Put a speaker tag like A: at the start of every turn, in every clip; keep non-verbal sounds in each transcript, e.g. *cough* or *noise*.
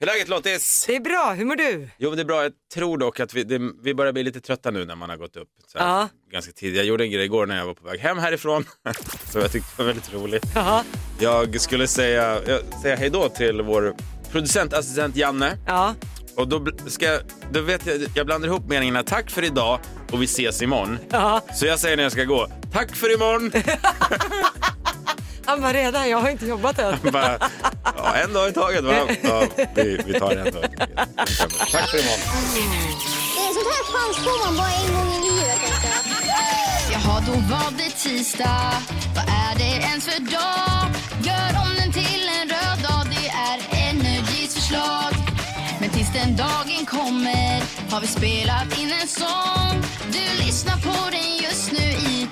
A: Hur är läget Lottis?
B: Det är bra, hur mår du?
A: Jo men det är bra, jag tror dock att vi, det, vi börjar bli lite trötta nu när man har gått upp så här,
B: Ja.
A: ganska tidigt. Jag gjorde en grej igår när jag var på väg hem härifrån *laughs* som jag tyckte var väldigt rolig.
B: Ja.
A: Jag skulle säga, jag, säga hej då till vår producentassistent Janne
B: Ja.
A: och då bl- ska jag- då vet jag, jag blandar ihop meningarna tack för idag och vi ses imorgon.
B: Ja.
A: Så jag säger när jag ska gå, tack för imorgon! *laughs*
B: Han bara redan, jag har inte jobbat än.
A: Bara, ja, en dag i taget va? Ja, vi, vi tar en dag i taget. Tack för imorgon!
C: Det är sånt här chans får man bara en gång i livet. tänker jag.
D: Jaha, då var det tisdag. Vad är det ens för dag? Gör om den till en röd dag, det är Energys förslag. Men tills den dagen kommer har vi spelat in en sång. Du lyssnar på den just nu i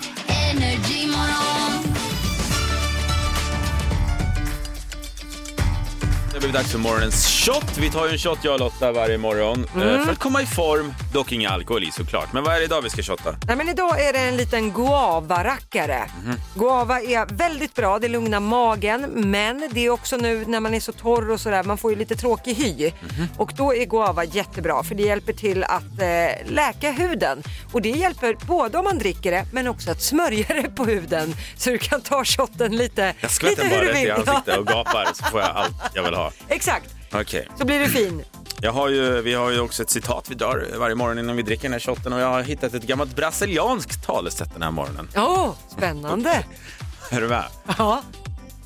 D: Energy morgon.
A: Det har blivit dags för morgonens shot. Vi tar ju en shot jag och Lotta varje morgon. Eh, För att komma i form, dock inga alkohol i såklart. Men vad är det idag vi ska shotta?
B: *laughs* Nej, men idag är det en liten guava-rackare. Guava är väldigt bra, det lugnar magen men det är också nu när man är så torr och sådär, man får ju lite tråkig hy. Och då är guava jättebra för det hjälper till att eh, läka huden. Och det hjälper både om man dricker det men också att smörja det på huden så du kan ta shotten lite,
A: Jag skvätter
B: lite hur
A: bara
B: du
A: rätt i
B: vill. *laughs*
A: ansiktet och gapar så får jag allt jag vill ha.
B: Exakt,
A: Okej.
B: så blir du fin.
A: Jag har ju, vi har ju också ett citat vi drar varje morgon innan vi dricker den här shotten och jag har hittat ett gammalt brasilianskt talesätt den här morgonen.
B: Åh, spännande.
A: Är du med?
B: Ja.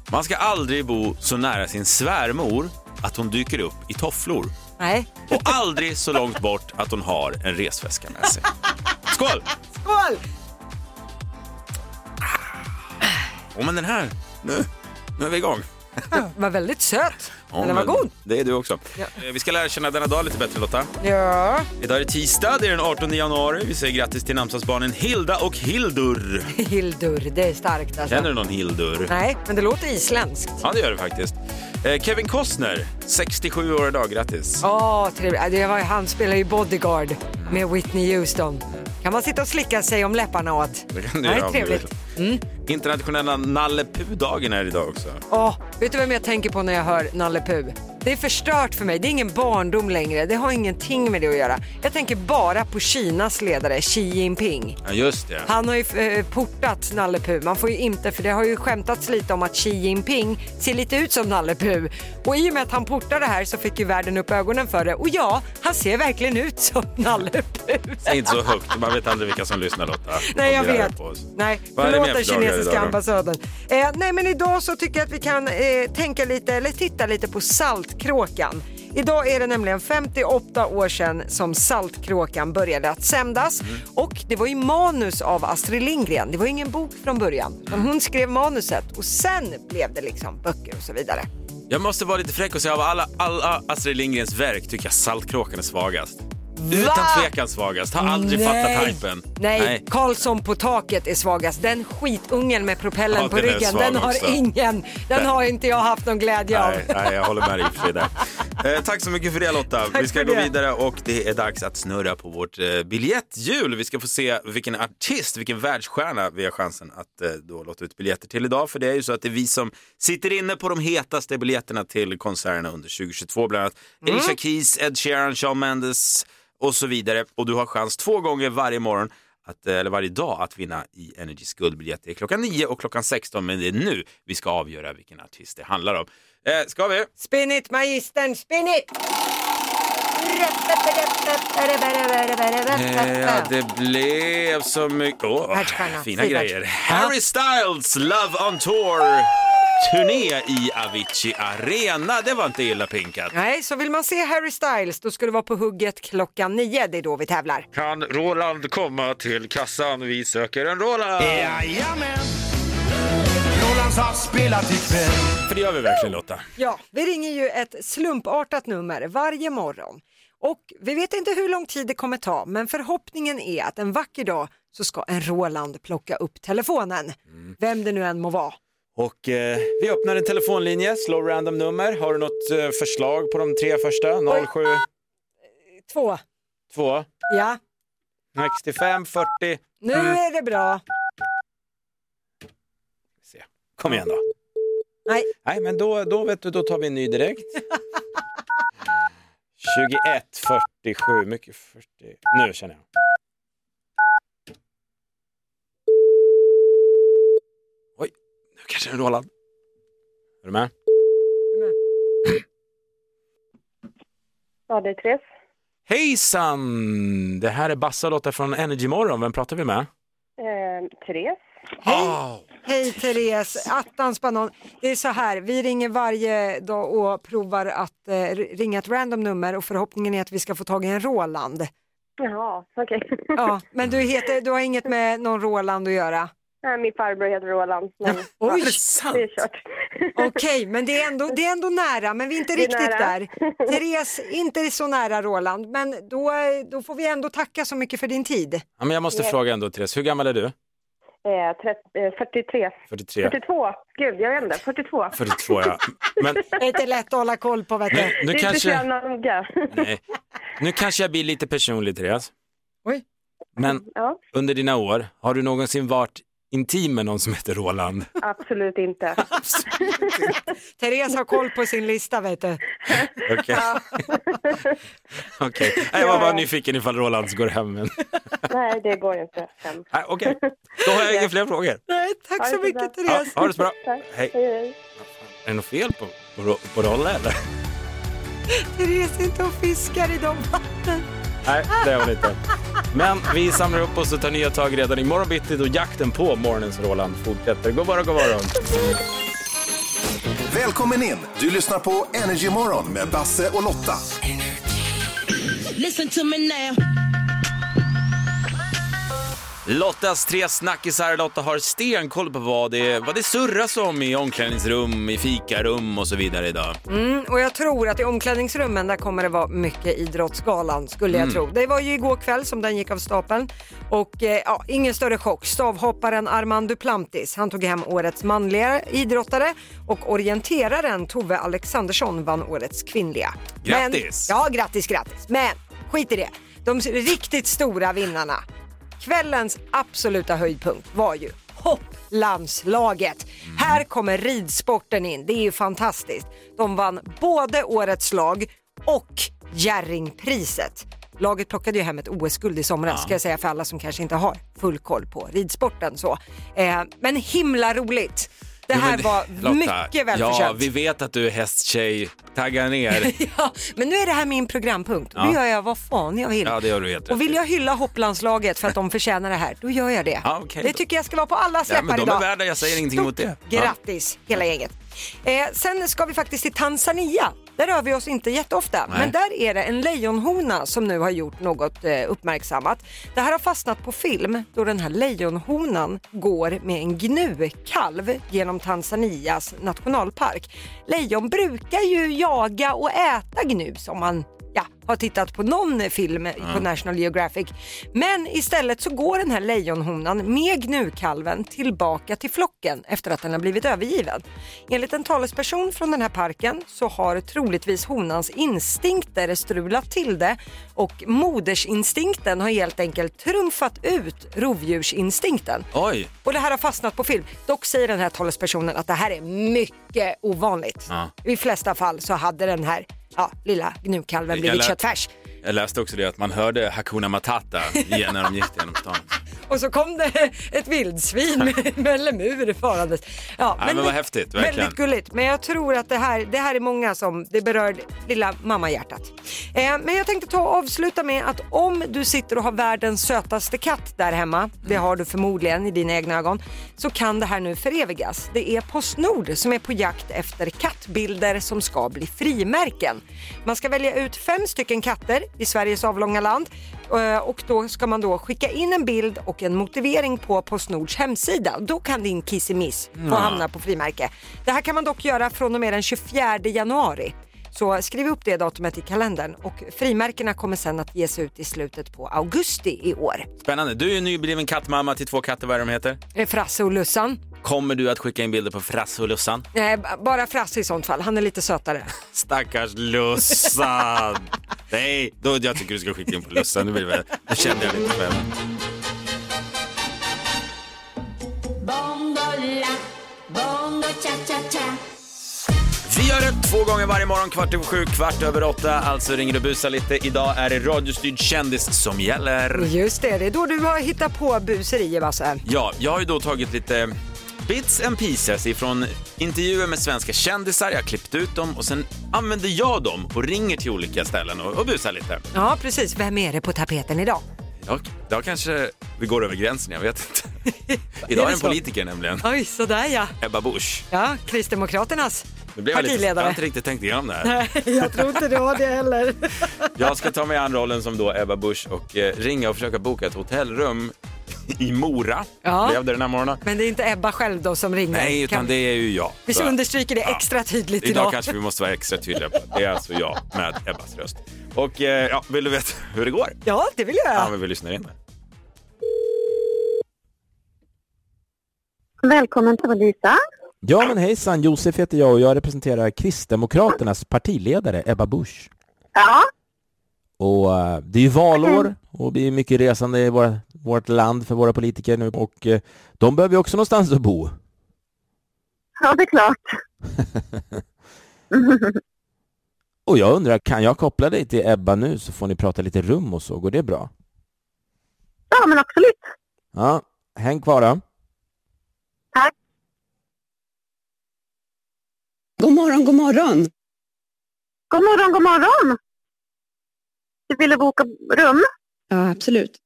A: Man ska aldrig bo så nära sin svärmor att hon dyker upp i tofflor.
B: Nej.
A: Och aldrig så långt bort att hon har en resväska med sig. Skål!
B: Skål!
A: Åh men den här, nu, nu är vi igång.
B: Var väldigt söt.
A: Ja,
B: Men den var
A: men
B: god.
A: Det är du också.
B: Ja.
A: Eh, Vi ska lära känna denna dag lite bättre Lotta.
B: Ja.
A: Idag är det tisdag, det är den 18 januari. Vi säger grattis till namnsdagsbarnen Hilda och Hildur.
B: Hildur, det är starkt alltså.
A: Känner du någon Hildur?
B: Nej, men det låter isländskt.
A: Ja, det gör du faktiskt. Eh, Kevin Costner, 67 år idag, grattis.
B: Åh, trevligt. Ja, Det var, han spelar ju Bodyguard med Whitney Houston. Kan man sitta och slicka sig om läpparna åt.
A: Det kan du
B: Nej,
A: göra om du
B: trevligt. Mm.
A: vill. Internationella Nalle dagen är idag också.
B: Åh, vet du vem jag tänker på när jag hör Nalle Puh? Det är förstört för mig. Det är ingen barndom längre. Det har ingenting med det att göra. Jag tänker bara på Kinas ledare Xi Jinping.
A: Ja, just det.
B: Han har ju eh, portat Nalle Puh. Man får ju inte, för det har ju skämtats lite om att Xi Jinping ser lite ut som Nalle Puh. Och i och med att han portar det här så fick ju världen upp ögonen för det. Och ja, han ser verkligen ut som *laughs* Nalle Puh.
A: Säg inte så högt, man vet aldrig vilka som lyssnar Lotta.
B: Nej, jag
A: De blir arga
B: vet.
A: på oss.
B: Nej,
A: Vad är det mer
B: förlåt den
A: för dagar
B: kinesiska
A: idag då?
B: ambassaden. Eh, nej, men idag så tycker jag att vi kan eh, tänka lite, eller titta lite på Saltkråkan. Idag är det nämligen 58 år sedan som Saltkråkan började att sändas.
A: Mm.
B: Och det var ju manus av Astrid Lindgren. Det var ju ingen bok från början.
A: Mm.
B: Men hon skrev manuset och sen blev det liksom böcker och så vidare.
A: Jag måste vara lite fräck och säga av alla, alla Astrid Lindgrens verk tycker jag Saltkråkan är svagast. Utan tvekan svagast. Har aldrig fattat hypen.
B: Nej. Karlsson på taket är svagast. Den skitungen med propellen
A: Ja,
B: på
A: den är
B: ryggen,
A: svag
B: den har
A: också.
B: ingen, den har inte jag haft någon glädje av.
A: Nej, nej, jag håller med dig i och för sig där. Eh, tack så mycket för det Lotta.
B: Tack
A: vi ska
B: för
A: gå
B: det.
A: vidare och det är dags att snurra på vårt eh, biljetthjul. Vi ska få se vilken artist, vilken världsstjärna vi har chansen att eh, då låta ut biljetter till idag. För det är ju så att det är vi som sitter inne på de hetaste biljetterna till konserterna under 2022. Bland annat
B: Mm.
A: Alicia Keys, Ed Sheeran, Shawn Mendes och så vidare. Och du har chans två gånger varje morgon att, eh, eller varje dag att vinna i Energys guldbiljett. Det är klockan 9 och klockan 16 men det är nu vi ska avgöra vilken artist det handlar om. Eh, ska vi?
B: Spin it, magistern, spin it!
A: Eh, Ja, det blev så mycket... Åh,
B: Världsstjärna,
A: fina
B: fri
A: grejer.
B: världs-
A: Harry Styles, Love on Tour. Turné i Avicii Arena. Det var inte illa pinkat.
B: Nej, så vill man se Harry Styles då ska du vara på hugget klockan nio. Det är då vi tävlar.
A: Kan Roland komma till kassan? Vi söker en Roland.
E: Jajamän! Rolands havs spelar till kväll.
A: För det gör vi verkligen Lotta.
B: Ja, vi ringer ju ett slumpartat nummer varje morgon. Och vi vet inte hur lång tid det kommer ta, men förhoppningen är att en vacker dag så ska en Roland plocka upp telefonen.
A: Mm.
B: Vem det nu än må vara.
A: Och eh, vi öppnar en telefonlinje, slår random nummer. Har du något eh, förslag på de tre första? 072,
B: Två. Ja,
A: 65, 40.
B: nu är det bra.
A: Se. Kom igen då.
B: Nej,
A: Nej, men då, då, vet du, då tar vi en ny direkt.
F: 21, 47, mycket 40. Nu känner jag.
A: Oj, nu kanske den Roland.
F: Är du med?
G: Ja, det är Therese.
F: Hejsan! Det här är Bassa-Lotta från Energy Morgon. Vem pratar vi med? Ah,
G: Eh, Therese.
B: Hej.
A: Åh,
B: Hej Therese, attans banan. Det är så här, vi ringer varje dag och provar att eh, ringa ett random nummer och förhoppningen är att vi ska få tag i en Roland.
G: Jaha, okej. *laughs*
B: Ja, men du, heter, du har inget med någon Roland att göra?
G: Nej, Min farbror heter Roland, men
A: Är
B: Oj,
A: det
G: det
A: sant?
G: är kört.
B: okej, men det är, ändå, det är ändå nära, men vi är inte
G: Det är
B: riktigt
G: nära.
B: där. Therese, inte så nära Roland, men då, då får vi ändå tacka så mycket för din tid.
F: Ja, men jag måste fråga ändå Therese, hur gammal är du?
G: *laughs* Eh, trett- eh, 43.
F: 43?
G: 42. Gud, jag vet inte. 42.
F: 42 ja. Men
B: Det är inte lätt att hålla koll på, vet
F: nu,
B: du.
F: nu
G: det är inte
F: kanske...
G: så
F: *laughs*
G: jävla noga.
F: Nej. Nu kanske jag blir lite personlig Therese.
B: Oj.
F: Men
G: Ja,
F: under dina år, har du någonsin varit intim med någon som heter Roland?
G: absolut inte.
B: Therese har koll på sin lista, vet du.
F: Okej. *laughs* Okej. Nej, Jag var bara nyfiken ifall Roland går hem. Men...
G: Nej, det går inte. Hem.
F: Nej, Okej, då har jag inga fler frågor.
B: Nej, tack
G: Ja,
B: så
G: det är
B: mycket,
G: bra.
F: Ja,
B: Therese.
F: ha det så bra.
G: Tack.
F: Hej.
G: Hej, hej.
F: Är det något fel på, på, ro- på Rolle eller?
B: Therese är inte och fiskar i de vattnen.
F: Nej, det är hon inte. Men vi samlar upp oss och tar nya tag redan imorgon bitti då jakten på morgonens Roland fortsätter. God morgon, god morgon.
H: Välkommen in! Du lyssnar på Energy Morgon med Basse och Lotta.
A: Lottas tre snackisar. Lotta har stenkoll på vad det, vad det surras om i omklädningsrum, i fikarum och så vidare idag.
B: Mm, och jag tror att i omklädningsrummen där kommer det vara mycket Idrottsgalan skulle jag tro. Det var ju igår kväll som den gick av stapeln och eh, ja, ingen större chock. Stavhopparen Armand Duplantis, han tog hem årets manliga idrottare och orienteraren Tove Alexandersson vann årets kvinnliga.
A: Grattis!
B: Men, ja, grattis, grattis. Men skit i det. De riktigt stora vinnarna. Kvällens absoluta höjdpunkt var ju hopplandslaget. Här kommer ridsporten in. Det är ju fantastiskt. De vann både årets lag och Jerringpriset. Laget plockade ju hem ett OS-guld i somras ska jag säga för alla som kanske inte har full koll på ridsporten. Så. Eh, men himla roligt. Det
A: Jo, men
B: här
A: det-
B: var
A: Lotta,
B: mycket välförtjänt.
A: Ja, vi vet att du är hästtjej. Tagga
B: *laughs*
A: ner.
B: Ja, men nu är det här min programpunkt. Då gör jag vad fan jag vill.
A: Ja, det gör du helt
B: Och vill
A: rätt i.
B: jag hylla hopplandslaget för att de förtjänar det här, då gör jag det.
A: *laughs* Ja, okej
B: det
A: då.
B: tycker jag ska vara på alla
A: Ja,
B: släppar
A: men de
B: idag.
A: är värda, jag säger ingenting emot det. Ja.
B: Grattis hela gänget. Eh, sen ska vi faktiskt till Tanzania. Där rör vi oss inte jätteofta,
A: Nej.
B: men där är det en lejonhona som nu har gjort något eh, uppmärksammat. Det här har fastnat på film då den här lejonhonan går med en gnukalv genom Tanzanias nationalpark. Lejon brukar ju jaga och äta gnus om man ja, har tittat på någon film på National Geographic. Men istället så går den här lejonhonan med gnukalven tillbaka till flocken efter att den har blivit övergiven. Enligt en talesperson från den här parken så har troligtvis honans instinkter strulat till det och modersinstinkten har helt enkelt trumfat ut rovdjursinstinkten.
A: Oj,
B: Och det här har fastnat på film. Dock säger den här talespersonen att det här är mycket ovanligt.
A: Ja.
B: I flesta fall så hade den här ja, lilla gnukalven blivit
A: lät-
B: köttfärs.
A: jag läste också det att man hörde Hakuna Matata igen när de gick genom stan.
B: Och så kom det *laughs*
A: *laughs*
B: ett vildsvin med- med en lemur farandes. Ja,
A: men vad häftigt, verkligen.
B: Väldigt gulligt. Men jag tror att det här, det här är många som det berör lilla mammahjärtat. Eh, men jag tänkte ta och avsluta med att om du sitter och har världens sötaste katt där hemma, det har du förmodligen i dina egna ögon, så kan det här nu förevigas. Det är Postnord som är på jakt efter kattbilder som ska bli frimärken. Man ska välja ut fem stycken katter i Sveriges avlånga land eh, och då ska man då skicka in en bild och en motivering på Postnords hemsida. Då kan din kissemiss få hamna på frimärke. Det här kan man dock göra från och med den 24 januari. Så skriv upp det datumet i kalendern och frimärkena kommer sen att ges ut i slutet på augusti i år.
A: Spännande. Du är ju nybliven kattmamma till två katter, vad är de heter?
B: Eh, Frasse och Lussan.
A: Kommer du att skicka in bilder på Frasse och Lussan?
B: Nej, b- bara Frasse i sånt fall. Han är lite sötare.
A: Stackars
B: *laughs*
A: Lussan! Nej, då, jag tycker du ska skicka in på Lussan. Nu, blir det väl, nu kände jag lite själv. Vi gör ett Två gånger varje morgon, kvart över sju, kvart över åtta. Alltså ringer du och busar lite. Idag är det radiostyrd kändis som gäller.
B: Just det, det är då du har hittat på buserier Basse.
A: Ja, jag har ju då tagit lite bits and pieces ifrån intervjuer med svenska kändisar. Jag har klippt ut dem och sen använder jag dem och ringer till olika ställen och, och busar lite.
B: Ja precis, vem är det på tapeten idag?
A: Idag, idag kanske vi går över gränsen, jag vet inte. Idag är det en
B: så?
A: politiker nämligen,
B: Oj, sådär ja.
A: Ebba Busch.
B: Ja, Kristdemokraternas
A: Nu blev jag lite- Jag har
B: partiledare.
A: inte riktigt tänkt igenom det här.
B: Nej, jag tror inte du har det heller.
A: Jag ska ta mig an rollen som då Ebba Busch och eh, ringa och försöka boka ett hotellrum i Mora.
B: Ja.
A: Blev det den här morgonen?
B: Men det är inte Ebba själv då som ringer?
A: Nej, utan
B: Kan-
A: det är ju jag.
B: Vi
A: Så-
B: understryker det
A: Ja.
B: extra tydligt
A: Idag,
B: idag.
A: kanske vi måste vara extra tydliga. På. Det är alltså jag med Ebbas röst. Och eh, ja, vill du veta hur det går?
B: Ja, det vill jag.
A: Ja, men vi lyssnar in det.
I: Välkommen till Lisa.
J: Ja men hejsan, Josef heter jag och jag representerar Kristdemokraternas partiledare Ebba Busch.
I: Ja,
J: Och eh, det är ju valår och det är mycket resande i våra, vårt land för våra politiker nu och eh, de behöver ju också någonstans att bo.
I: ja det är klart.
J: Och jag undrar, kan jag koppla dig till Ebba nu så får ni prata lite rum och så, går det bra?
I: Ja, men absolut.
J: Ja, häng kvar då.
I: Tack.
K: God morgon, god morgon.
I: God morgon, god morgon. Du ville boka rum?
K: Ja, absolut.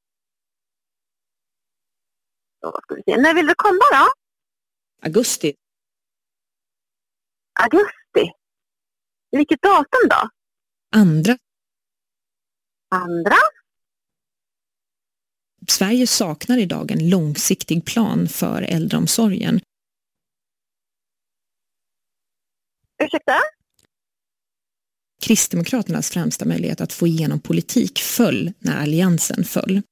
I: Då ska vi se. När vill du komma då?
K: Augusti.
I: Augusti. Vilket datum då?
K: Andra.
I: Andra?
K: Sverige saknar idag en långsiktig plan för äldreomsorgen.
I: Ursäkta?
K: Kristdemokraternas främsta möjlighet att få igenom politik föll när alliansen föll.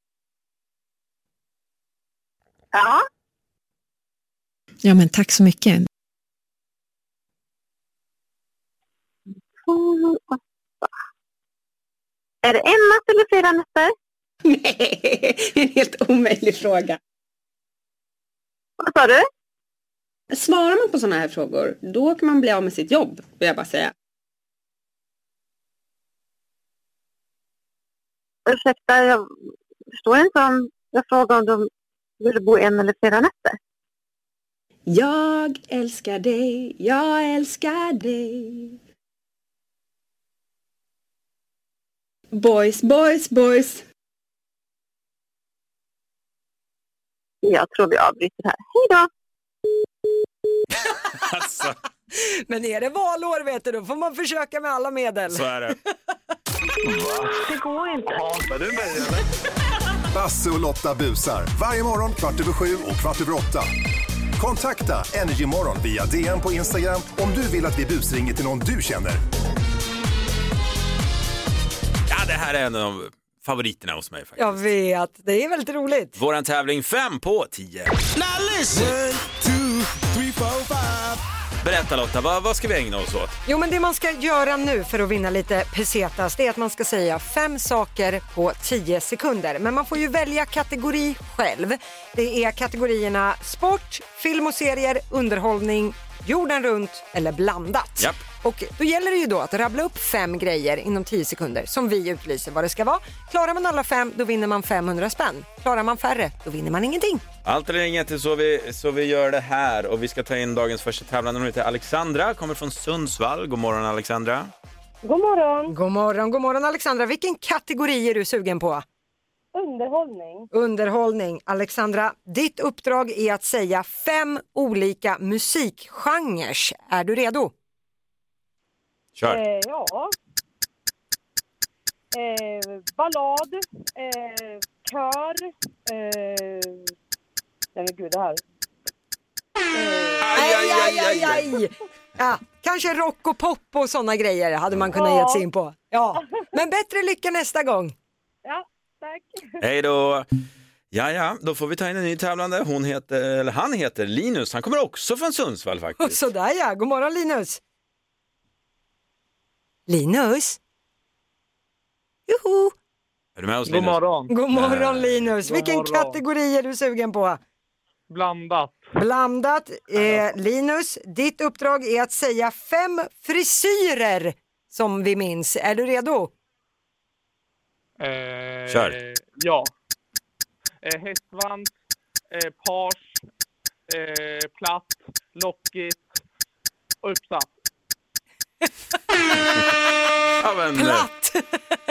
I: Ja.
K: Ja, men tack så mycket.
I: Mm, åtta. *laughs* Är det en natt eller
K: *laughs*
I: flera nätter?
K: Nej, en helt omöjlig fråga.
I: Vad sa du?
K: Svarar man på sådana här frågor, då kan man bli av med sitt jobb, vill jag bara säga.
I: Ursäkta, jag förstår inte om jag frågade om de ville bo en eller flera nätter.
K: Jag älskar dig, jag älskar dig. Boys, boys, boys.
I: Jag tror vi avbryter här. Hej då!
A: Alltså,
B: Men är det valår vet du, då får man försöka med alla medel.
A: så är det.
I: Det går inte.
H: Basse och Lotta busar. Varje morgon kvart över sju och kvart över åtta. Kontakta Energymorgon via DM på Instagram om du vill att vi busringer till någon du känner.
A: Ja, det här är en av favoriterna hos mig faktiskt.
B: Jag vet, det är väldigt roligt.
A: Våran tävling 5 på 10. Berätta Lotta, vad, vad ska vi ägna oss åt?
B: Jo men det man ska göra nu för att vinna lite pesetas det är att man ska säga fem saker på 10 sekunder. Men man får ju välja kategori själv. Det är kategorierna sport, film och serier, underhållning, jorden runt eller blandat.
A: Japp.
B: Och då gäller det ju då att rabbla upp fem grejer inom 10 sekunder som vi utlyser vad det ska vara. Klarar man alla fem då vinner man 500 spänn. Klarar man färre då vinner man ingenting.
A: Allt eller inget är så vi, så vi gör det här och vi ska ta in dagens första tävlande. Hon heter Alexandra, kommer från Sundsvall. God morgon Alexandra.
L: God morgon.
B: God morgon, god morgon Alexandra. Vilken kategori är du sugen på?
L: Underhållning.
B: Underhållning. Alexandra, ditt uppdrag är att säga fem olika musikgenres. Är du redo?
A: Kör.
L: Eh, ja. Eh, ballad. Eh, kör. Eh, nej men gud, det här.
B: Aj, aj, aj, aj, aj. Ja, kanske rock och pop och sådana grejer hade man kunnat
L: Ja.
B: ge sig in på. Ja. Men bättre lycka nästa gång. *laughs*
L: Ja, tack.
A: Hej då. Ja, ja, då får vi ta in en ny tävlande. Hon heter, eller han heter Linus. Han kommer också från Sundsvall
B: Och
A: faktiskt.
B: sådär ja, god morgon Linus. Linus? Joho!
A: Är du med oss Linus? God morgon.
B: God morgon Linus. Vilken kategori är du sugen på?
J: Blandat.
B: Blandat. Eh, Linus, ditt uppdrag är att säga fem frisyrer som vi minns. Är du redo?
J: Eh,
A: Kör.
J: Ja. Eh, hästsvans, eh, page, eh, platt, lockigt, uppsatt.
A: Ja, men, eh,
B: Platt,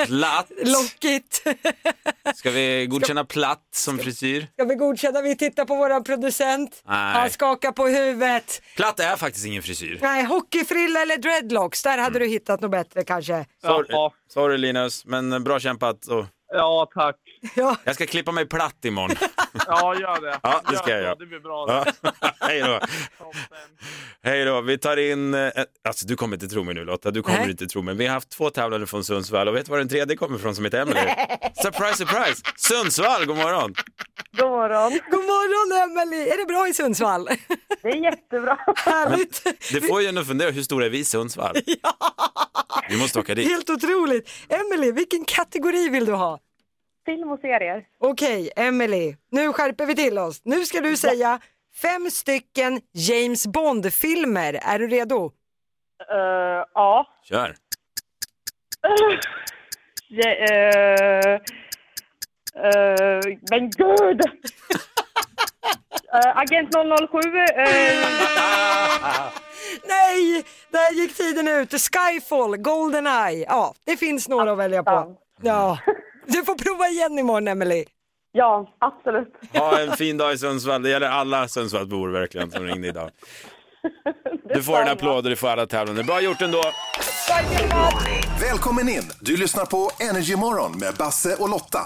A: Platt.
B: lockigt. *laughs*
A: Ska vi godkänna platt som frisyr?
B: Ska vi godkänna? Vi tittar på våran producent.
A: Nej.
B: Han skakar på huvudet.
A: Platt är faktiskt ingen frisyr.
B: Nej, hockeyfrilla eller dreadlocks, där hade du hittat något bättre kanske.
A: Sorry,
J: Ja.
A: sorry Linus, men bra kämpat. Och
J: Ja, tack.
B: Ja,
A: jag ska klippa mig platt imorgon.
J: Ja, gör det.
A: Ja, det ska jag göra.
J: Det blir bra.
A: Ja. Hej då.
J: Toppen.
A: Hej då. Vi tar in... eh, Alltså du kommer inte tro mig nu Lotta, du kommer
B: Nej.
A: inte tro mig. Vi har haft två tävlande från Sundsvall och vet du var den tredje kommer från som heter Emelie? Surprise, surprise! Sundsvall, god morgon!
L: God morgon.
B: God morgon Emelie! Är det bra i Sundsvall?
L: Det är jättebra. *laughs*
B: Härligt!
A: Det får ju en att fundera, hur stora är vi i Sundsvall? Vi måste åka dit.
B: Helt otroligt! Emelie, vilken kategori vill du ha?
L: Film och serier.
B: Okej, Emelie, nu skärper vi till oss. Nu ska du säga fem stycken James Bond-filmer. Är du redo?
L: Eh, ja. *clears throat*
A: Kör!
L: Eh, ja, eh, eh, men gud! Eh, Agent 007. eh,
B: Nej, där gick tiden ut. Skyfall, Goldeneye. Ja, det finns några att välja på. Ja. Du får prova igen imorgon, Emelie.
L: ja, absolut.
A: Ha en fin dag i Sundsvall, det gäller alla Sundsvallsbor verkligen som ringde idag. Du får en applåd och du får alla tävlande. Bra gjort ändå!
H: Välkommen in! Du lyssnar på Energy Morgon med Basse och Lotta.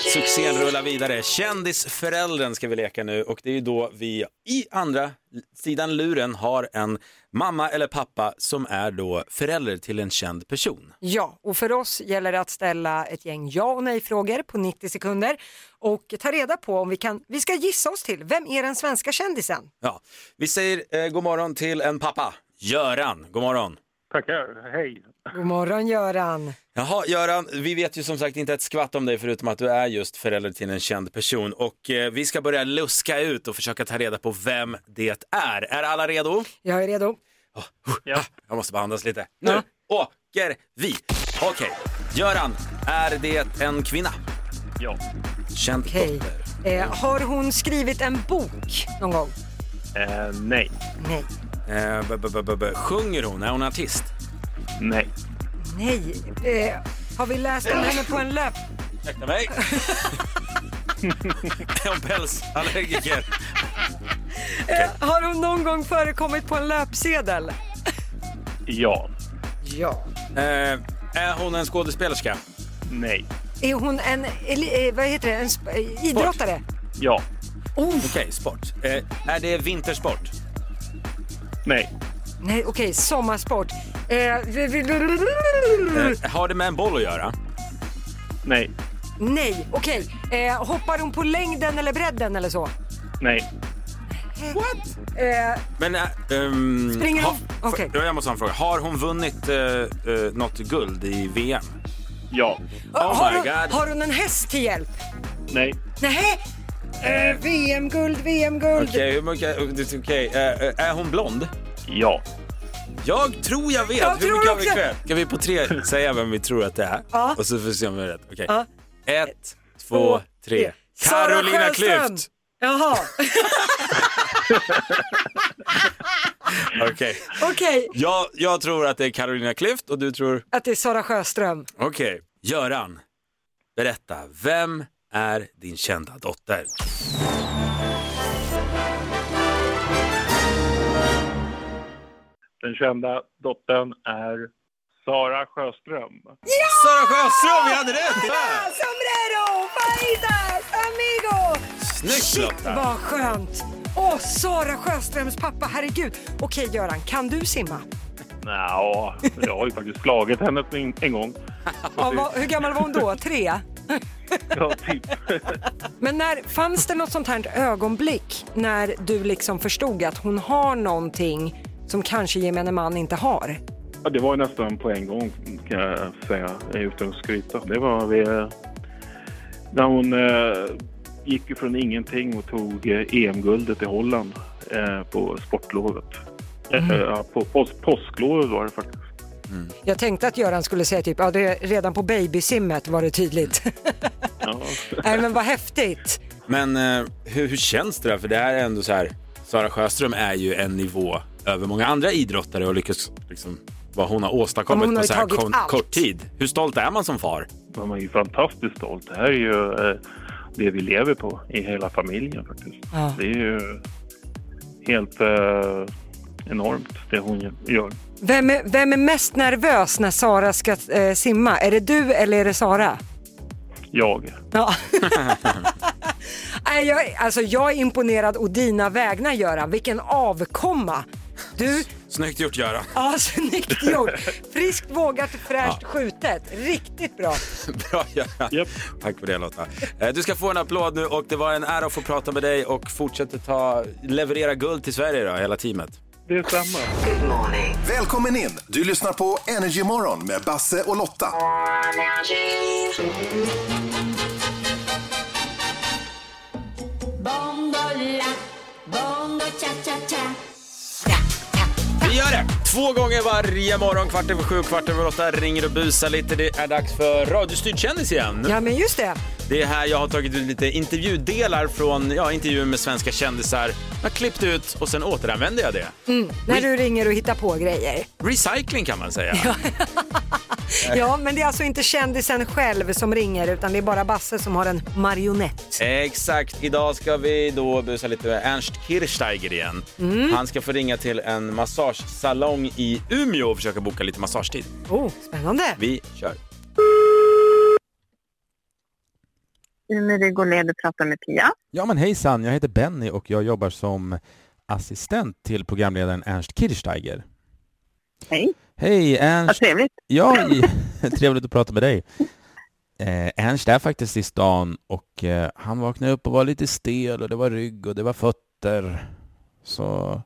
A: Succén rullar vidare. Kändisföräldern ska vi leka nu och det är ju då vi i andra sidan luren har en mamma eller pappa som är då förälder till en känd person.
B: Ja, och för oss gäller det att ställa ett gäng ja och nej-frågor på 90 sekunder och ta reda på om vi kan, vi ska gissa oss till, vem är den svenska kändisen?
A: Ja, vi säger eh, god morgon till en pappa. Göran, god morgon.
J: Tackar. Hej.
B: God morgon Göran!
A: Jaha, Göran, vi vet ju som sagt inte ett skvatt om dig förutom att du är just förälder till en känd person och eh, vi ska börja luska ut och försöka ta reda på vem det är. Är alla redo?
B: Jag är redo.
A: Ah, Jag måste bara andas lite. Nu åker vi! Okej, Göran, är det en kvinna?
J: Ja.
A: Känd
B: Okej.
A: dotter.
B: Eh, har hon skrivit en bok någon gång?
J: nej.
B: Nej.
A: Eh, b- b- b- b- sjunger hon? Är hon artist?
J: Nej.
B: Nej. Eh, har vi läst om henne på en löp?
A: Ursäkta mig. *laughs* Är hon pälsallergiker?
B: Eh, har hon någon gång förekommit på en löpsedel?
J: Ja.
B: Ja.
A: Eh, är hon en skådespelerska?
J: Nej.
B: Är hon en, eli- eh, vad heter det, en sp- eh, idrottare?
J: Ja.
B: Oh,
A: Okej, sport. Eh, är det vintersport?
J: Nej.
B: nej, okej, sommarsport. Eh, Mm.
A: Eh, har det med en boll att göra?
J: Nej.
B: nej, okej. Eh, hoppar hon på längden eller bredden eller så?
J: Nej.
B: What? Eh,
A: Men, eh, ehm,
B: Springer hon-
A: ha-
B: okej.
A: Ja, Jag måste ha en fråga. Har hon vunnit eh, eh, något guld i VM?
J: Ja.
A: Oh
B: har,
A: my
B: hon,
A: god.
B: har hon en häst till hjälp?
J: Nej.
B: Nej. Eh, VM-guld, VM-guld.
A: Okej, hur mycket- okej. Eh, eh, är hon blond?
J: Ja.
A: Jag tror jag vet
B: Jag
A: hur
B: tror
A: mycket har vi
B: också.
A: kvar? Kan vi på tre säga vem vi tror att det är?
B: Ja.
A: Och så får vi se om vi är rätt. Okej.
B: Ja.
A: Ett, två, tre.
B: Sara
A: Carolina
B: Sjöström.
A: Klüft!
B: Jaha,
A: Okej.
B: okej.
A: Jag, jag tror att det är Carolina Klüft och du tror...
B: Att det är Sara Sjöström.
A: Okej. Göran, berätta. Vem är din kända dotter?
J: Den kända dottern är Sara Sjöström.
A: Sara Sjöström, vi hade rätt! Fan!
B: Sombrero, fajitas, amigo!
A: Snyggt
B: Shit
A: Lotta!
B: vad skönt! Åh, Sara Sjöströms pappa, herregud. Okej Göran, kan du simma?
J: Nja, jag har ju faktiskt slagit henne en, en gång.
B: Ja, vad, hur gammal var hon då? Tre?
J: Ja, typ.
B: Men när, fanns det något sånt här ögonblick när du liksom förstod att hon har någonting som kanske gemene man inte har?
J: Ja, det var ju nästan på en gång kan jag säga, utan att skryta. Det var vi, eh, när hon eh, gick ju från ingenting och tog eh, EM-guldet i Holland eh, på sportlovet. Mm. på pås påsklovet var det faktiskt.
B: Mm. Jag tänkte att Göran skulle säga typ, ja det, redan på babysimmet var det tydligt.
J: *laughs*
B: ja. Nej men vad häftigt.
A: Men eh, hur, hur känns det där? För det här är ändå så här, Sara Sjöström är ju en nivå över många andra idrottare och lyckas liksom vad hon har åstadkommit hon har på så här kon, kort tid. Hur stolt är man som far?
J: Man är ju fantastiskt stolt. Det här är ju eh, det vi lever på i hela familjen faktiskt. Ja. Det är ju helt eh, enormt det hon gör.
B: Vem är, vem är mest nervös när Sara ska eh, simma? Är det du eller är det Sara?
J: Jag.
B: Ja. *laughs* Nej, jag, alltså jag är imponerad och dina vägnar Göran. Vilken avkomma! Du...
A: Snyggt gjort Göran! *laughs*
B: Ja, *laughs* snyggt gjort! Friskt, vågat, fräscht ja. skjutet. Riktigt bra!
A: bra Göran! Yep. Tack för det Lotta. Eh, Du ska få en applåd nu och det var en ära att få prata med dig och fortsätter ta, leverera guld till Sverige då, hela teamet.
J: Detsamma!
H: Välkommen in! Du lyssnar på Energy Morgon med Basse och Lotta.
A: Bongola, bongo cha cha cha. Vi gör det! Två gånger varje morgon, kvart över sju, kvart över åtta ringer och busar lite. Det är dags för radiostyrd kändis igen.
B: Ja, men just det.
A: Det är här jag har tagit ut lite intervjudelar från ja, intervjuer med svenska kändisar. Jag har klippt ut och sen återanvänder jag det.
B: Mm, när du Re ringer och hittar på grejer.
A: Recycling kan man säga.
B: Ja. ja, men det är alltså inte kändisen själv som ringer utan det är bara Basse som har en marionett.
A: Exakt. Idag ska vi då busa lite med Ernst Kirchsteiger igen. Mm. Han ska få ringa till en massagesalong i Umeå och försöka boka lite massagetid.
B: Oh, spännande.
A: Vi kör.
I: Umeå Golé, du pratar med Pia.
M: Ja men hejsan, jag heter Benny och jag jobbar som assistent till programledaren Ernst Kirchsteiger.
I: Hej.
M: Hej Ernst.
I: Vad trevligt. *laughs*
M: Ja, *laughs* trevligt att prata med dig. Eh, Ernst är faktiskt i stan och eh, han vaknade upp och var lite stel och det var rygg och det var fötter. Så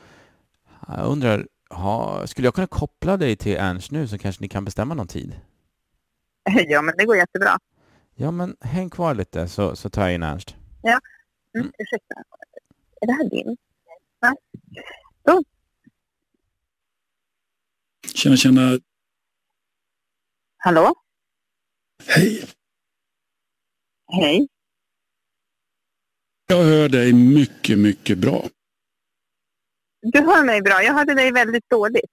M: jag undrar, ha, skulle jag kunna koppla dig till Ernst nu så kanske ni kan bestämma någon tid?
I: Ja, men det går jättebra.
M: Ja, men häng kvar lite så, så tar jag in Ernst.
I: Ja, mm, ursäkta. Är det här din? Nej. Ja.
N: Tjena, tjena.
I: Hallå?
N: Hej.
I: Hej.
N: Jag hör dig mycket, mycket bra.
I: Du hör mig bra. Jag hörde dig väldigt dåligt.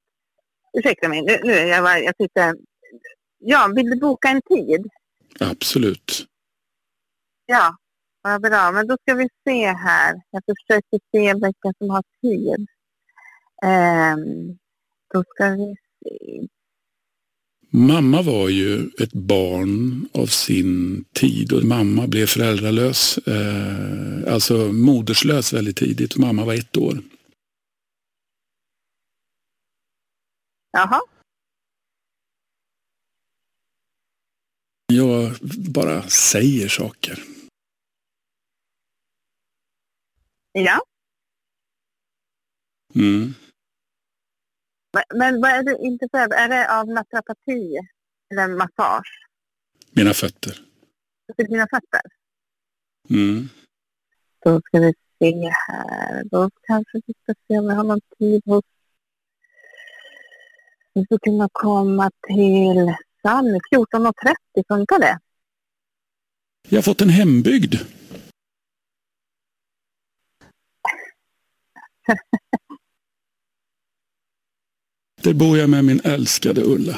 I: Ursäkta mig. Nu, nu jag, var, jag tyckte... Ja, vill du boka en tid?
N: Absolut.
I: Ja, vad ja, bra. Men då ska vi se här. Jag försöker se vilka som har tid. Um, då ska vi se.
N: Mamma var ju ett barn av sin tid och mamma blev föräldralös, eh, alltså moderslös väldigt tidigt. Mamma var ett år.
I: Jaha.
N: Jag bara säger saker.
I: Ja.
N: Mm.
I: Men, men vad är du intresserad av? Är det av naprapati eller massage?
N: Mina fötter.
I: Det är dina fötter?
N: Mm.
I: Då ska vi se här. Då kanske vi ska se om vi har någon tid hos... Vi skulle kunna komma till Sunny 14.30. Funkar det?
N: Jag har fått en hembygd. Där bor jag med min älskade Ulla.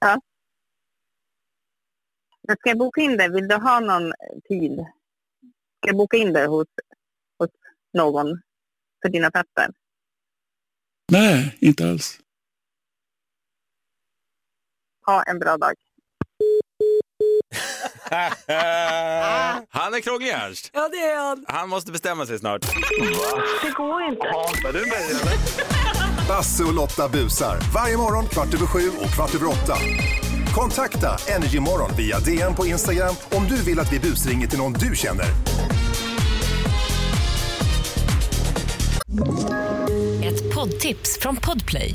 I: Ja. Jag ska jag boka in dig? Vill du ha någon tid? Ska jag boka in dig hos, hos någon för dina fötter?
N: Nej, inte alls.
I: Ha en bra dag.
A: *laughs* han är krånglig Ernst.
B: Ja, det är han.
A: Han måste bestämma sig snart.
I: Det går inte.
H: Basse och Lotta busar varje morgon kvart över sju och kvart över åtta. Kontakta Energymorgon via DM på Instagram om du vill att vi busringer till någon du känner.
O: Ett poddtips från Podplay.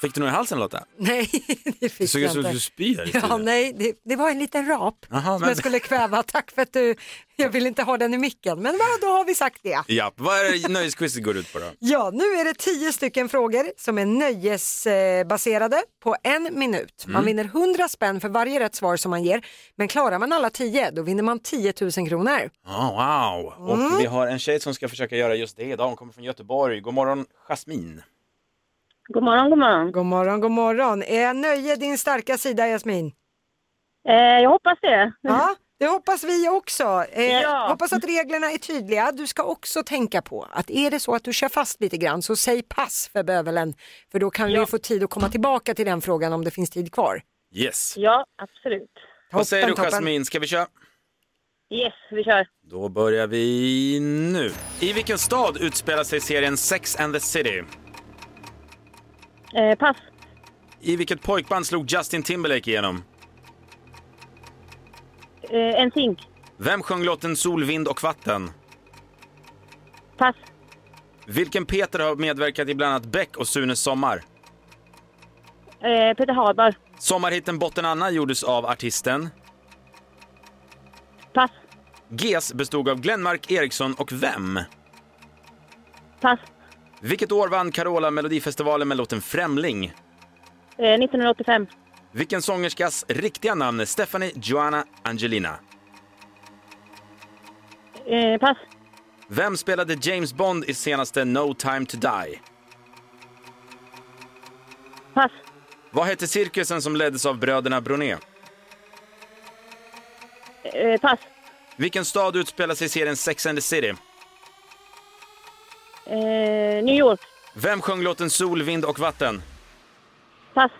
A: Fick du något i halsen Lotta?
B: Nej, *laughs* det fick
A: Det såg
B: jag
A: ut som
B: inte.
A: att du spyr.
B: Ja, nej, det, det var en liten rap
A: Aha,
B: som
A: men-
B: jag skulle kväva. Tack för att du, jag vill inte ha den i micken, men vad, då har vi sagt det.
A: Ja, vad är det nöjesquizet går ut på då?
B: Ja, nu är det tio stycken frågor som är nöjesbaserade på en minut. Man
A: Mm.
B: vinner 100 spänn för varje rätt svar som man ger, men klarar man alla tio, då vinner man 10 000 kronor.
A: Ja, Ah, wow! Och
B: Mm.
A: vi har en tjej som ska försöka göra just det idag. Hon kommer från Göteborg. God morgon, Jasmin.
B: God morgon, god morgon. God morgon, god morgon. Är nöje din starka sida, Jasmin?
L: Eh,
B: jag hoppas det. Ja, det hoppas vi också. Eh,
L: Ja.
B: Hoppas att reglerna är tydliga. Du ska också tänka på att är det så att du kör fast lite grann så säg pass för bövelen. För då kan vi få tid att komma tillbaka till den frågan om det finns tid kvar.
A: Yes.
L: Ja, absolut.
A: Vad säger du
B: toppen.
A: Jasmin, ska vi köra?
L: Yes, vi kör.
A: Då börjar vi nu. I vilken stad utspelar sig serien Sex and the City?
L: Eh, pass.
A: I vilket pojkband slog Justin Timberlake igenom?
L: Eh, en zink.
A: Vem sjöng låten Sol, vind och vatten?
L: Pass.
A: Vilken Peter har medverkat i bland annat Beck och Sunes sommar?
L: Eh, Peter Haber.
A: Sommarhitten Botten Anna gjordes av artisten.
L: Pass.
A: GES bestod av Glenmark Eriksson och vem?
L: Pass.
A: Vilket år vann Carola Melodifestivalen med låten Främling?
L: Eh, 1985.
A: Vilken sångerskas riktiga namn är Stephanie Joanna Angelina?
L: Eh, pass.
A: Vem spelade James Bond i senaste No time to die?
L: Pass.
A: Vad hette cirkusen som leddes av bröderna Broné?
L: Eh, pass.
A: Vilken stad utspelar sig i serien Sex and the City?
L: Eh, New York.
A: Vem sjöng låten Sol, vind och vatten?
L: Pass. Ah!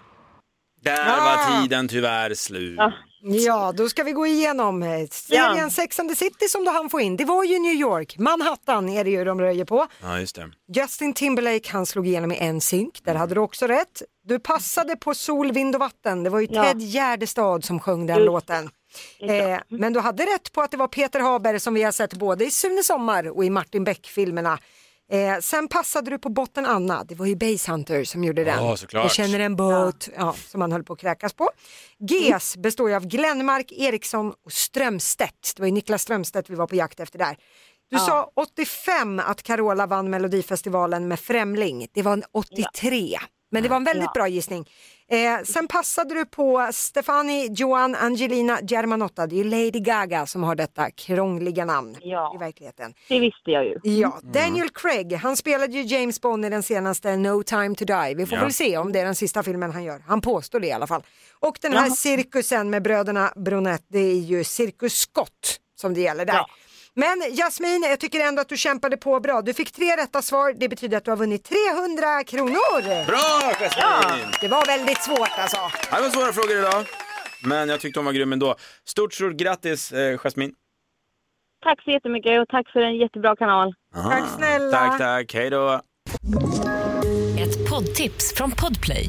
A: Där var tiden tyvärr slut.
B: Ja, då ska vi gå igenom eh, serien Sex and the City som du hann få in. Det var ju New York, Manhattan är det ju de röjer på.
A: Ja, just det.
B: Justin Timberlake han slog igenom i en synk, där hade du också rätt. Du passade på Sol, vind och vatten, det var ju
L: Ja.
B: Ted Gärdestad som sjöng den
L: Just det.
B: låten. Eh,
A: Mm.
B: men du hade rätt på att det var Peter Haber som vi har sett både i Sune Sommar och i Martin Beck-filmerna. Eh, sen passade du på Botten Anna, det var ju Basehunter som gjorde den.
A: Ja, såklart.
B: Jag känner en båt, ja. som han höll på att kräkas på. GES består ju av Glenmark, Eriksson och Strömstedt. Det var ju Niklas Strömstedt vi var på jakt efter där. Du
L: Ja.
B: sa 85 att Carola vann Melodifestivalen med Främling. Det var en 83. Men det var en väldigt
L: Ja.
B: bra gissning. Eh, sen passade du på Stefani Joan Angelina Germanotta. Det är ju Lady Gaga som har detta krångliga namn i verkligheten.
L: Det visste jag ju.
B: Ja, Daniel Craig, han spelade ju James Bond i den senaste No time to die. Vi får
L: Ja.
B: väl se om det är den sista filmen han gör. Han påstår det i alla fall. Och den här
L: Jaha.
B: cirkusen med bröderna Bronett, det är ju Cirkus Scott som det gäller där. Men Jasmin, jag tycker ändå att du kämpade på bra. Du fick tre rätta svar, det betyder att du har vunnit 300 kronor!
A: Bra, Jasmin!
B: Det var väldigt svårt alltså.
A: Ja, Det var svåra frågor idag, men jag tyckte hon var grym ändå. Stort, stort grattis, eh, Jasmin.
L: Tack så jättemycket och tack för en jättebra kanal.
A: Aha.
L: Tack snälla.
A: Tack, tack. Hej då.
P: Ett poddtips från Podplay.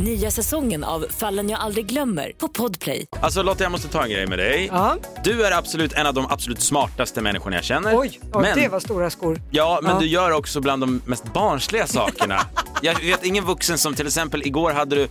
P: Nya säsongen av Fallen jag aldrig glömmer på Podplay.
A: Alltså Lotta, jag måste ta en grej med dig. Du är absolut en av de absolut smartaste människorna jag känner.
B: Oj, oj
A: men,
B: det var stora skor.
A: Ja, men
B: Ja.
A: du gör också bland de mest barnsliga
B: *laughs*
A: sakerna. jag vet ingen vuxen som till exempel igår hade du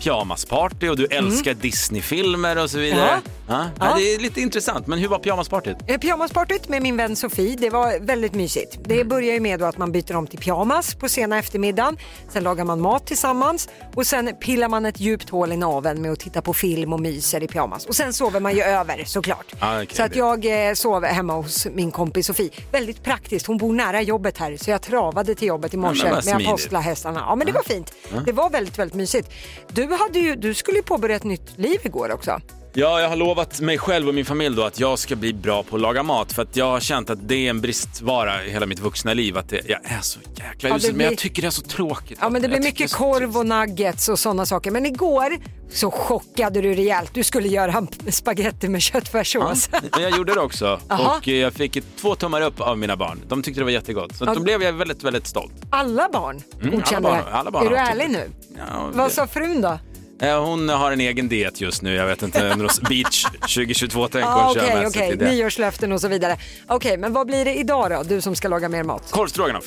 A: pyjamasparty och du älskar Disneyfilmer och så vidare.
B: Mm. Ja.
A: Ja.
B: Ja.
A: Det är lite intressant, men hur var pyjamaspartyt?
B: Eh, Pyjamaspartyt med min vän Sofie, det var väldigt mysigt. Det börjar ju med då att man byter om till pyjamas på sena eftermiddagen. Sen lagar man mat tillsammans och sen pillar man ett djupt hål i naveln med att titta på film och myser i pyjamas. Och sen sover man ju över såklart.
A: Ja, okej,
B: så att
A: det-
B: jag eh, sov hemma hos min kompis Sofie. Väldigt praktiskt, hon bor nära jobbet här så jag travade till jobbet i morse
Q: Ja, men vad
B: med
Q: smidigt.
B: apostla hästarna. Ja men det var fint.
A: Ja.
B: Det var väldigt, väldigt mysigt. Du, hade ju, du skulle ju påbörja ett nytt liv igår också.
A: Ja, jag har lovat mig själv och min familj då att jag ska bli bra på att laga mat för att jag har känt att det är en bristvara i hela mitt vuxna liv att det, jag är så jäkla
B: Ja,
A: usel,
B: det
A: men
B: blir-
A: jag tycker det är så tråkigt.
B: Ja men det blir mycket korv och nuggets och sådana saker. Men igår så chockade du rejält. Du skulle göra *laughs* en p- spaghetti med köttfärssås.
A: Men jag gjorde det också
B: Jaha.
A: och eh, jag fick ett, två tummar upp av mina barn. De tyckte det var jättegott, så att
B: Ja.
A: då blev jag väldigt, väldigt stolt.
B: *laughs* Alla barn
A: Mm, alla
B: godkände det
A: barn- alla barn
B: Är du
A: har
B: ärlig nu?
A: Ja,
B: Vad sa frun då?
A: eh, hon har en egen diet just nu, jag vet inte, en
B: *laughs*
A: Ros- beach 2022 tänker
B: Ah,
A: hon köra
B: Okej,
A: med sig
B: okej.
A: till det.
B: Nyårslöften och så vidare. Okej, men vad blir det idag då? Du som ska laga mer mat.
A: Korvstroganoff.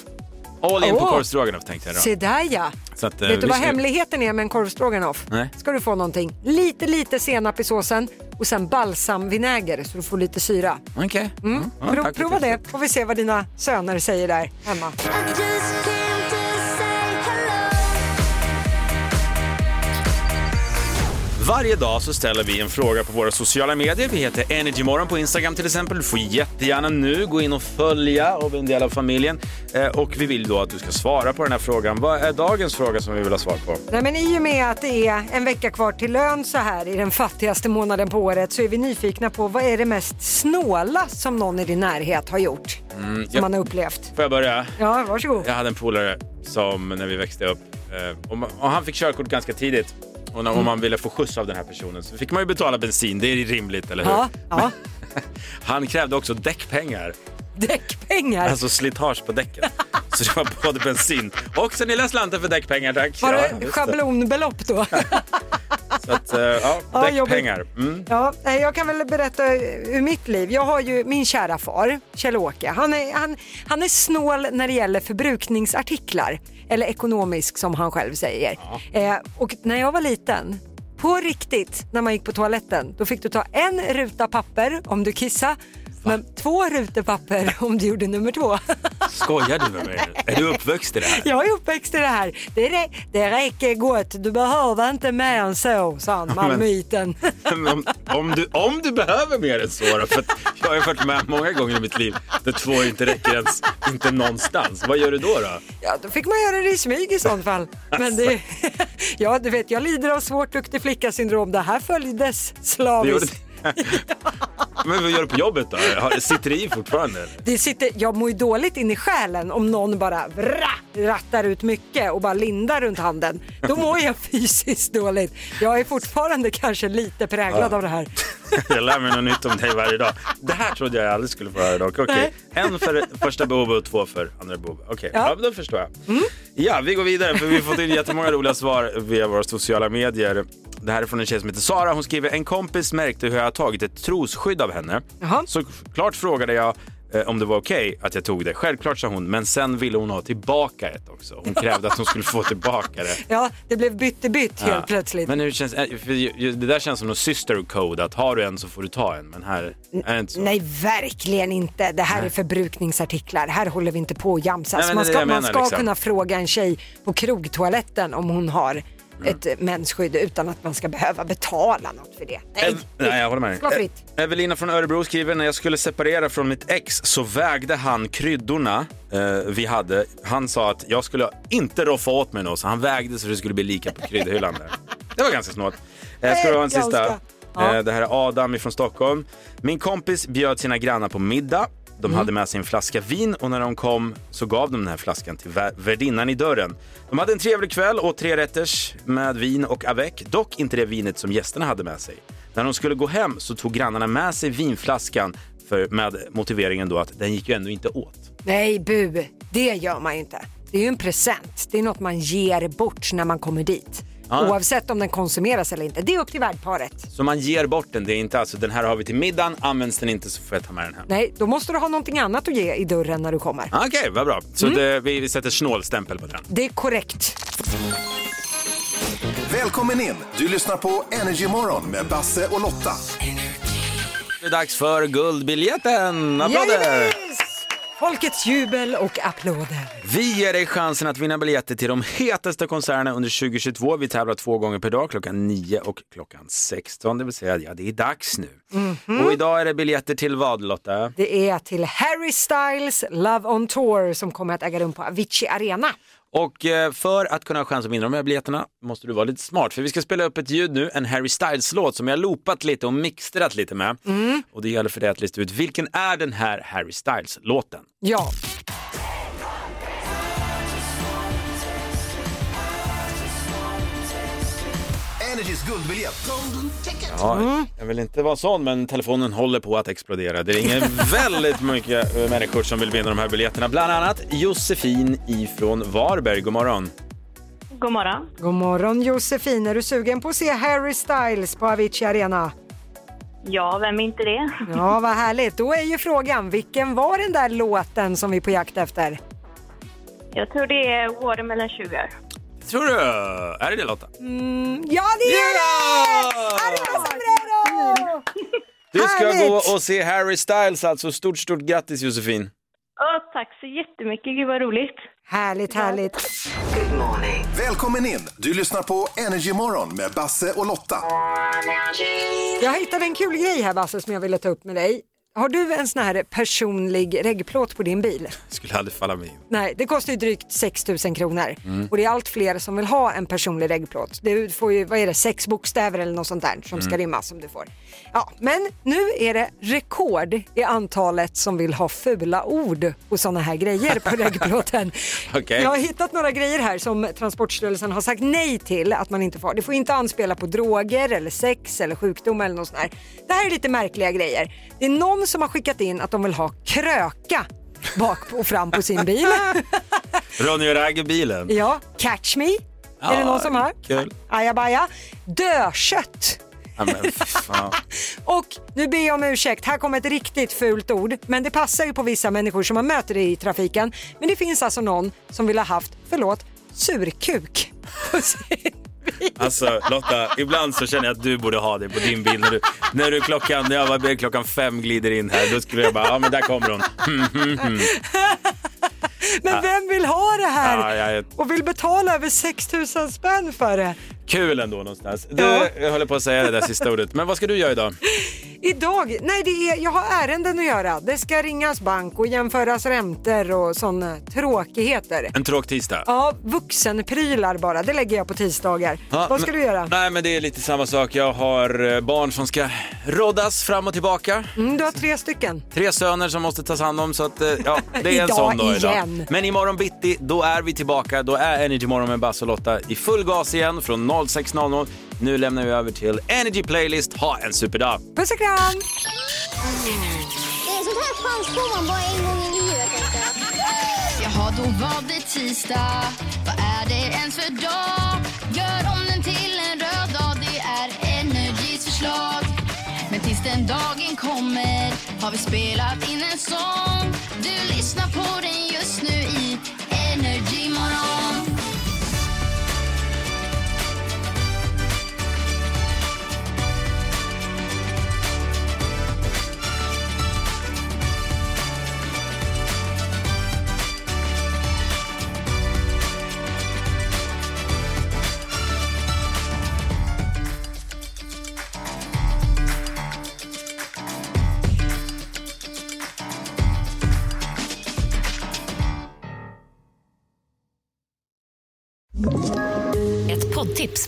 A: All in på
B: Åh.
A: korvstroganoff tänkte jag då.
B: Se där ja.
A: Så att, eh,
B: Vet du vad
A: vi ska-
B: hemligheten är med en korvstroganoff?
A: Nej.
B: Ska du få någonting? Lite, lite senap i såsen och sen balsamvinäger så du får lite syra.
A: Okej.
B: Mm.
A: Ja,
B: Pro-
A: tack för
B: prova det, får vi se vad dina söner säger där hemma.
A: Varje dag så ställer vi en fråga på våra sociala medier. Vi heter Energymorgon på Instagram till exempel. Du får jättegärna nu gå in och följa och bli en del av familjen. Eh, och vi vill då att du ska svara på den här frågan. Vad är dagens fråga som vi vill ha svar på?
B: Nej, men I och med att det är en vecka kvar till lön så här i den fattigaste månaden på året så är vi nyfikna på vad är det mest snåla som någon i din närhet har gjort?
A: Mm,
B: Som
A: jag-
B: man har upplevt.
A: Får jag börja?
B: Ja, varsågod.
A: Jag hade en polare som när vi växte upp, eh, och, man, och han fick körkort ganska tidigt. Och när, om man ville få skjuts av den här personen så fick man ju betala bensin, det är rimligt, eller hur?
B: Ja, ja.
A: *laughs* Han krävde också däckpengar.
B: Däckpengar.
A: Alltså slitage på däcken. Så det var både bensin och sen lilla slanten för däckpengar tack.
B: var
A: Ja,
B: det
A: just det.
B: schablonbelopp
A: *laughs*
B: då?
A: Så att, eh,
B: Ja,
A: ja,
B: jobbigt.
A: däckpengar. Mm.
B: Ja, eh, jag kan väl berätta eh, ur mitt liv. Jag har ju min kära far, Kjell-Åke. Han är, han, han är snål när det gäller förbrukningsartiklar. Eller ekonomisk som han själv säger. Eh, och när jag var liten, på riktigt, när man gick på toaletten, då fick du ta en ruta papper om du kissade. Men två rutor papper *laughs* om du gjorde nummer två. *laughs*
A: Skojar du med mig? Är du uppväxt i det här?
B: Jag är uppväxt i det här. Det, rä- det räcker gott, du behöver inte mer än så, sa han,
A: Men-
B: *laughs* malmöiten.
A: Men om, om, du, om du behöver mer än så då, för att jag har ju varit med många gånger i mitt liv där två inte räcker ens, inte någonstans. Vad gör du då? då?
B: Ja, då fick man göra det i smyg i sånt fall. Men det, *laughs* ja, du vet, jag lider av svårt duktig flicka-syndrom. Det här följdes
A: du gjorde
B: slaviskt.
A: *laughs* Men vad gör du på jobbet då? Har- Sitter det i fortfarande?
B: Det sitter, jag mår ju dåligt in i själen om någon bara vra, rattar ut mycket och bara lindar runt handen. Då mår jag *laughs* fysiskt dåligt. Jag är fortfarande kanske lite präglad
A: Ja.
B: av det här.
A: *laughs* Jag lär mig något nytt om dig varje dag. Det här trodde jag aldrig skulle få höra dock. Okej, en för första behovet och två för andra behovet. Okej, ja. men då förstår jag. Ja, vi går vidare för vi har fått in jättemånga roliga svar via våra sociala medier. Det här är från en tjej som heter Sara. Hon skriver, en kompis märkte hur jag har tagit ett trosskydd av henne. Så klart frågade jag eh, om det var okej att jag tog det. Självklart sa hon, men sen ville hon ha tillbaka ett också. Hon krävde att hon skulle få tillbaka det.
B: Ja, det blev bytt i bytt
A: Ja.
B: helt plötsligt.
A: Men hur känns, eh, för ju- ju- det där känns som någon sister code, att har du en så får du ta en. Men här är det inte så.
B: Nej, verkligen inte. Det här
A: Nej.
B: är förbrukningsartiklar. Här håller vi inte på och
A: Nej,
B: jamsas.
A: men
B: man
A: det är
B: ska,
A: det jag
B: man
A: menar,
B: ska
A: liksom.
B: kunna fråga en tjej på krogtoaletten om hon har
A: Mm.
B: ett eh, mensskydd utan att man ska behöva betala något för det. Nej.
A: Ev- Nej, jag håller med dig.
B: Slå fritt.
A: E- Evelina från Örebro skriver, när jag skulle separera från mitt ex så vägde han kryddorna eh, vi hade. Han sa att jag skulle inte roffa åt mig något, så han vägde så det skulle bli lika på kryddhyllan
B: *laughs*
A: där. Det var ganska snålt. Eh, ska du ha en
F: Ganska.
A: sista?
F: Ja.
A: Eh, det här är Adam från Stockholm. Min kompis bjöd sina grannar på middag. De hade med sig en flaska vin och när de kom så gav de den här flaskan till vär- värdinnan i dörren. De hade en trevlig kväll och tre rätters med vin och avec, dock inte det vinet som gästerna hade med sig. När de skulle gå hem så tog grannarna med sig vinflaskan för, med motiveringen då att den gick ju ändå inte åt.
B: Nej, bu. Det gör man ju inte. Det är ju en present. Det är något man ger bort när man kommer dit.
A: Ja.
B: Oavsett om den konsumeras eller inte. Det är upp till värdparet.
A: Så man ger bort den, det är inte alltså den här har vi till middagen, används den inte så får jag ta med den hem.
B: Nej, då måste du ha någonting annat att ge i dörren när du kommer.
A: Okej, vad bra. Så det, vi, vi sätter snålstämpel på den.
B: Det är korrekt.
H: Välkommen in! Du lyssnar på Energy Morgon med Basse och Lotta.
A: Det är dags för Guldbiljetten! Applåder!
B: Yes! Folkets jubel och applåder.
A: Vi ger dig chansen att vinna biljetter till de hetaste konserterna under 2022. Vi tävlar två gånger per dag, klockan 9 och klockan 16. Det vill säga, ja, det är dags nu.
B: Mhm.
A: Och idag är det biljetter till vad, Lotta?
B: Det är till Harry Styles Love on Tour som kommer att äga rum på Avicii Arena.
A: Och eh, för att kunna ha chans att vinna de här biljetterna måste du vara lite smart. För vi ska spela upp ett ljud nu, en Harry Styles-låt som jag har loopat lite och mixtrat lite med. Och det gäller för dig att lista ut vilken är den här Harry Styles-låten?
B: Ja.
R: Energys guldbiljett.
A: Ja, Jag vill inte vara sån, men telefonen håller på att explodera. Det ringer *laughs* väldigt mycket eh, människor som vill vinna de här biljetterna. Bland annat Josefin ifrån Varberg. God morgon.
B: God morgon. God morgon Josefin. Är du sugen på att se Harry Styles på Avicii Arena?
L: Ja, vem är inte det?
B: Ja, vad härligt. Då är ju frågan, vilken var den där låten som vi är på jakt efter?
L: Jag tror det är Watermelon Sugar.
A: Tror du? Är det det Lotta?
B: Mm, ja, det är det! Arriba Sombrero!
A: Du ska
B: Härligt!
A: gå och se Harry Styles alltså. Stort, stort grattis Josefin.
L: Ja, tack så jättemycket. Gud vad roligt.
B: Härligt, härligt.
R: Välkommen in! Du lyssnar på Energy Morgon med Basse och Lotta.
B: Jag hittade en kul grej här Basse som jag ville ta upp med dig. Har du en sån här personlig reggplåt på din bil?
A: Skulle aldrig falla mig in.
B: Nej, det kostar ju drygt 6 000 kronor
A: Mm.
B: och det är allt fler som vill ha en personlig reggplåt. Det får ju, vad är det, sex bokstäver eller något sånt där som ska
L: Mm.
B: rimmas som du får. Ja, men nu är det rekord i antalet som vill ha fula ord och sådana här
A: *laughs*
B: grejer på reggplåten.
A: Okej.
B: Jag har hittat några grejer här som Transportstyrelsen har sagt nej till att man inte får. Det får inte anspela på droger eller sex eller sjukdom eller något sånt där. Det här är lite märkliga grejer. Det är någon som har skickat in att de vill ha kröka bak och fram på sin bil.
A: Ronny och Ragge-bilen.
B: Ja, catch me. är det någon som har?
A: Kul.
B: Ajabaja. Dökött.
A: Ja, men fy fan.
B: Och nu ber jag om ursäkt, här kommer ett riktigt fult ord, men det passar ju på vissa människor som man möter i trafiken. Men det finns alltså någon som vill ha haft, förlåt, surkuk.
A: Alltså Lotta, ibland så känner jag att du borde ha det på din bild. När du, när du klockan, när jag var klockan fem glider in här, då skulle jag bara, ja men där kommer hon.
B: Men
A: Ja.
B: vem vill ha det här?
A: Ja, Ah, jag är
B: Och vill betala över 6 000 spänn för det?
A: kul ändå någonstans. Du,
B: Ja.
A: jag håller på att säga det där sista ordet, men vad ska du göra idag?
B: Idag, nej det är, jag har ärenden att göra. Det ska ringas bank och jämföras räntor och sådana tråkigheter.
A: En tråkig tisdag?
B: Ja, vuxenprylar bara, det lägger jag på tisdagar.
A: Ja,
B: Vad ska
A: men-
B: du göra?
A: Nej men det är lite samma sak, jag har eh, barn som ska roddas fram och tillbaka.
B: Mm, du har tre stycken.
A: Tre söner som måste tas hand om så att eh, ja, det är en
B: Idag
A: sån dag
B: igen.
A: idag. Men imorgon bitti, då är vi tillbaka. Då är Energy Morgon med Basse och Lotta i full gas igen från 06.00. Nu lämnar vi över till Energy Playlist. Ha en superdag!
B: Puss och kram!
S: En sån här chans får man bara en gång i livet.
D: Jaha, då var det tisdag. Vad är det ens för dag? Gör om den till en röd dag. Det är Energys förslag. Men tills den dagen kommer har vi spelat in en sång. Du lyssnar på den just nu i Energy Morgon.
T: Ett poddtips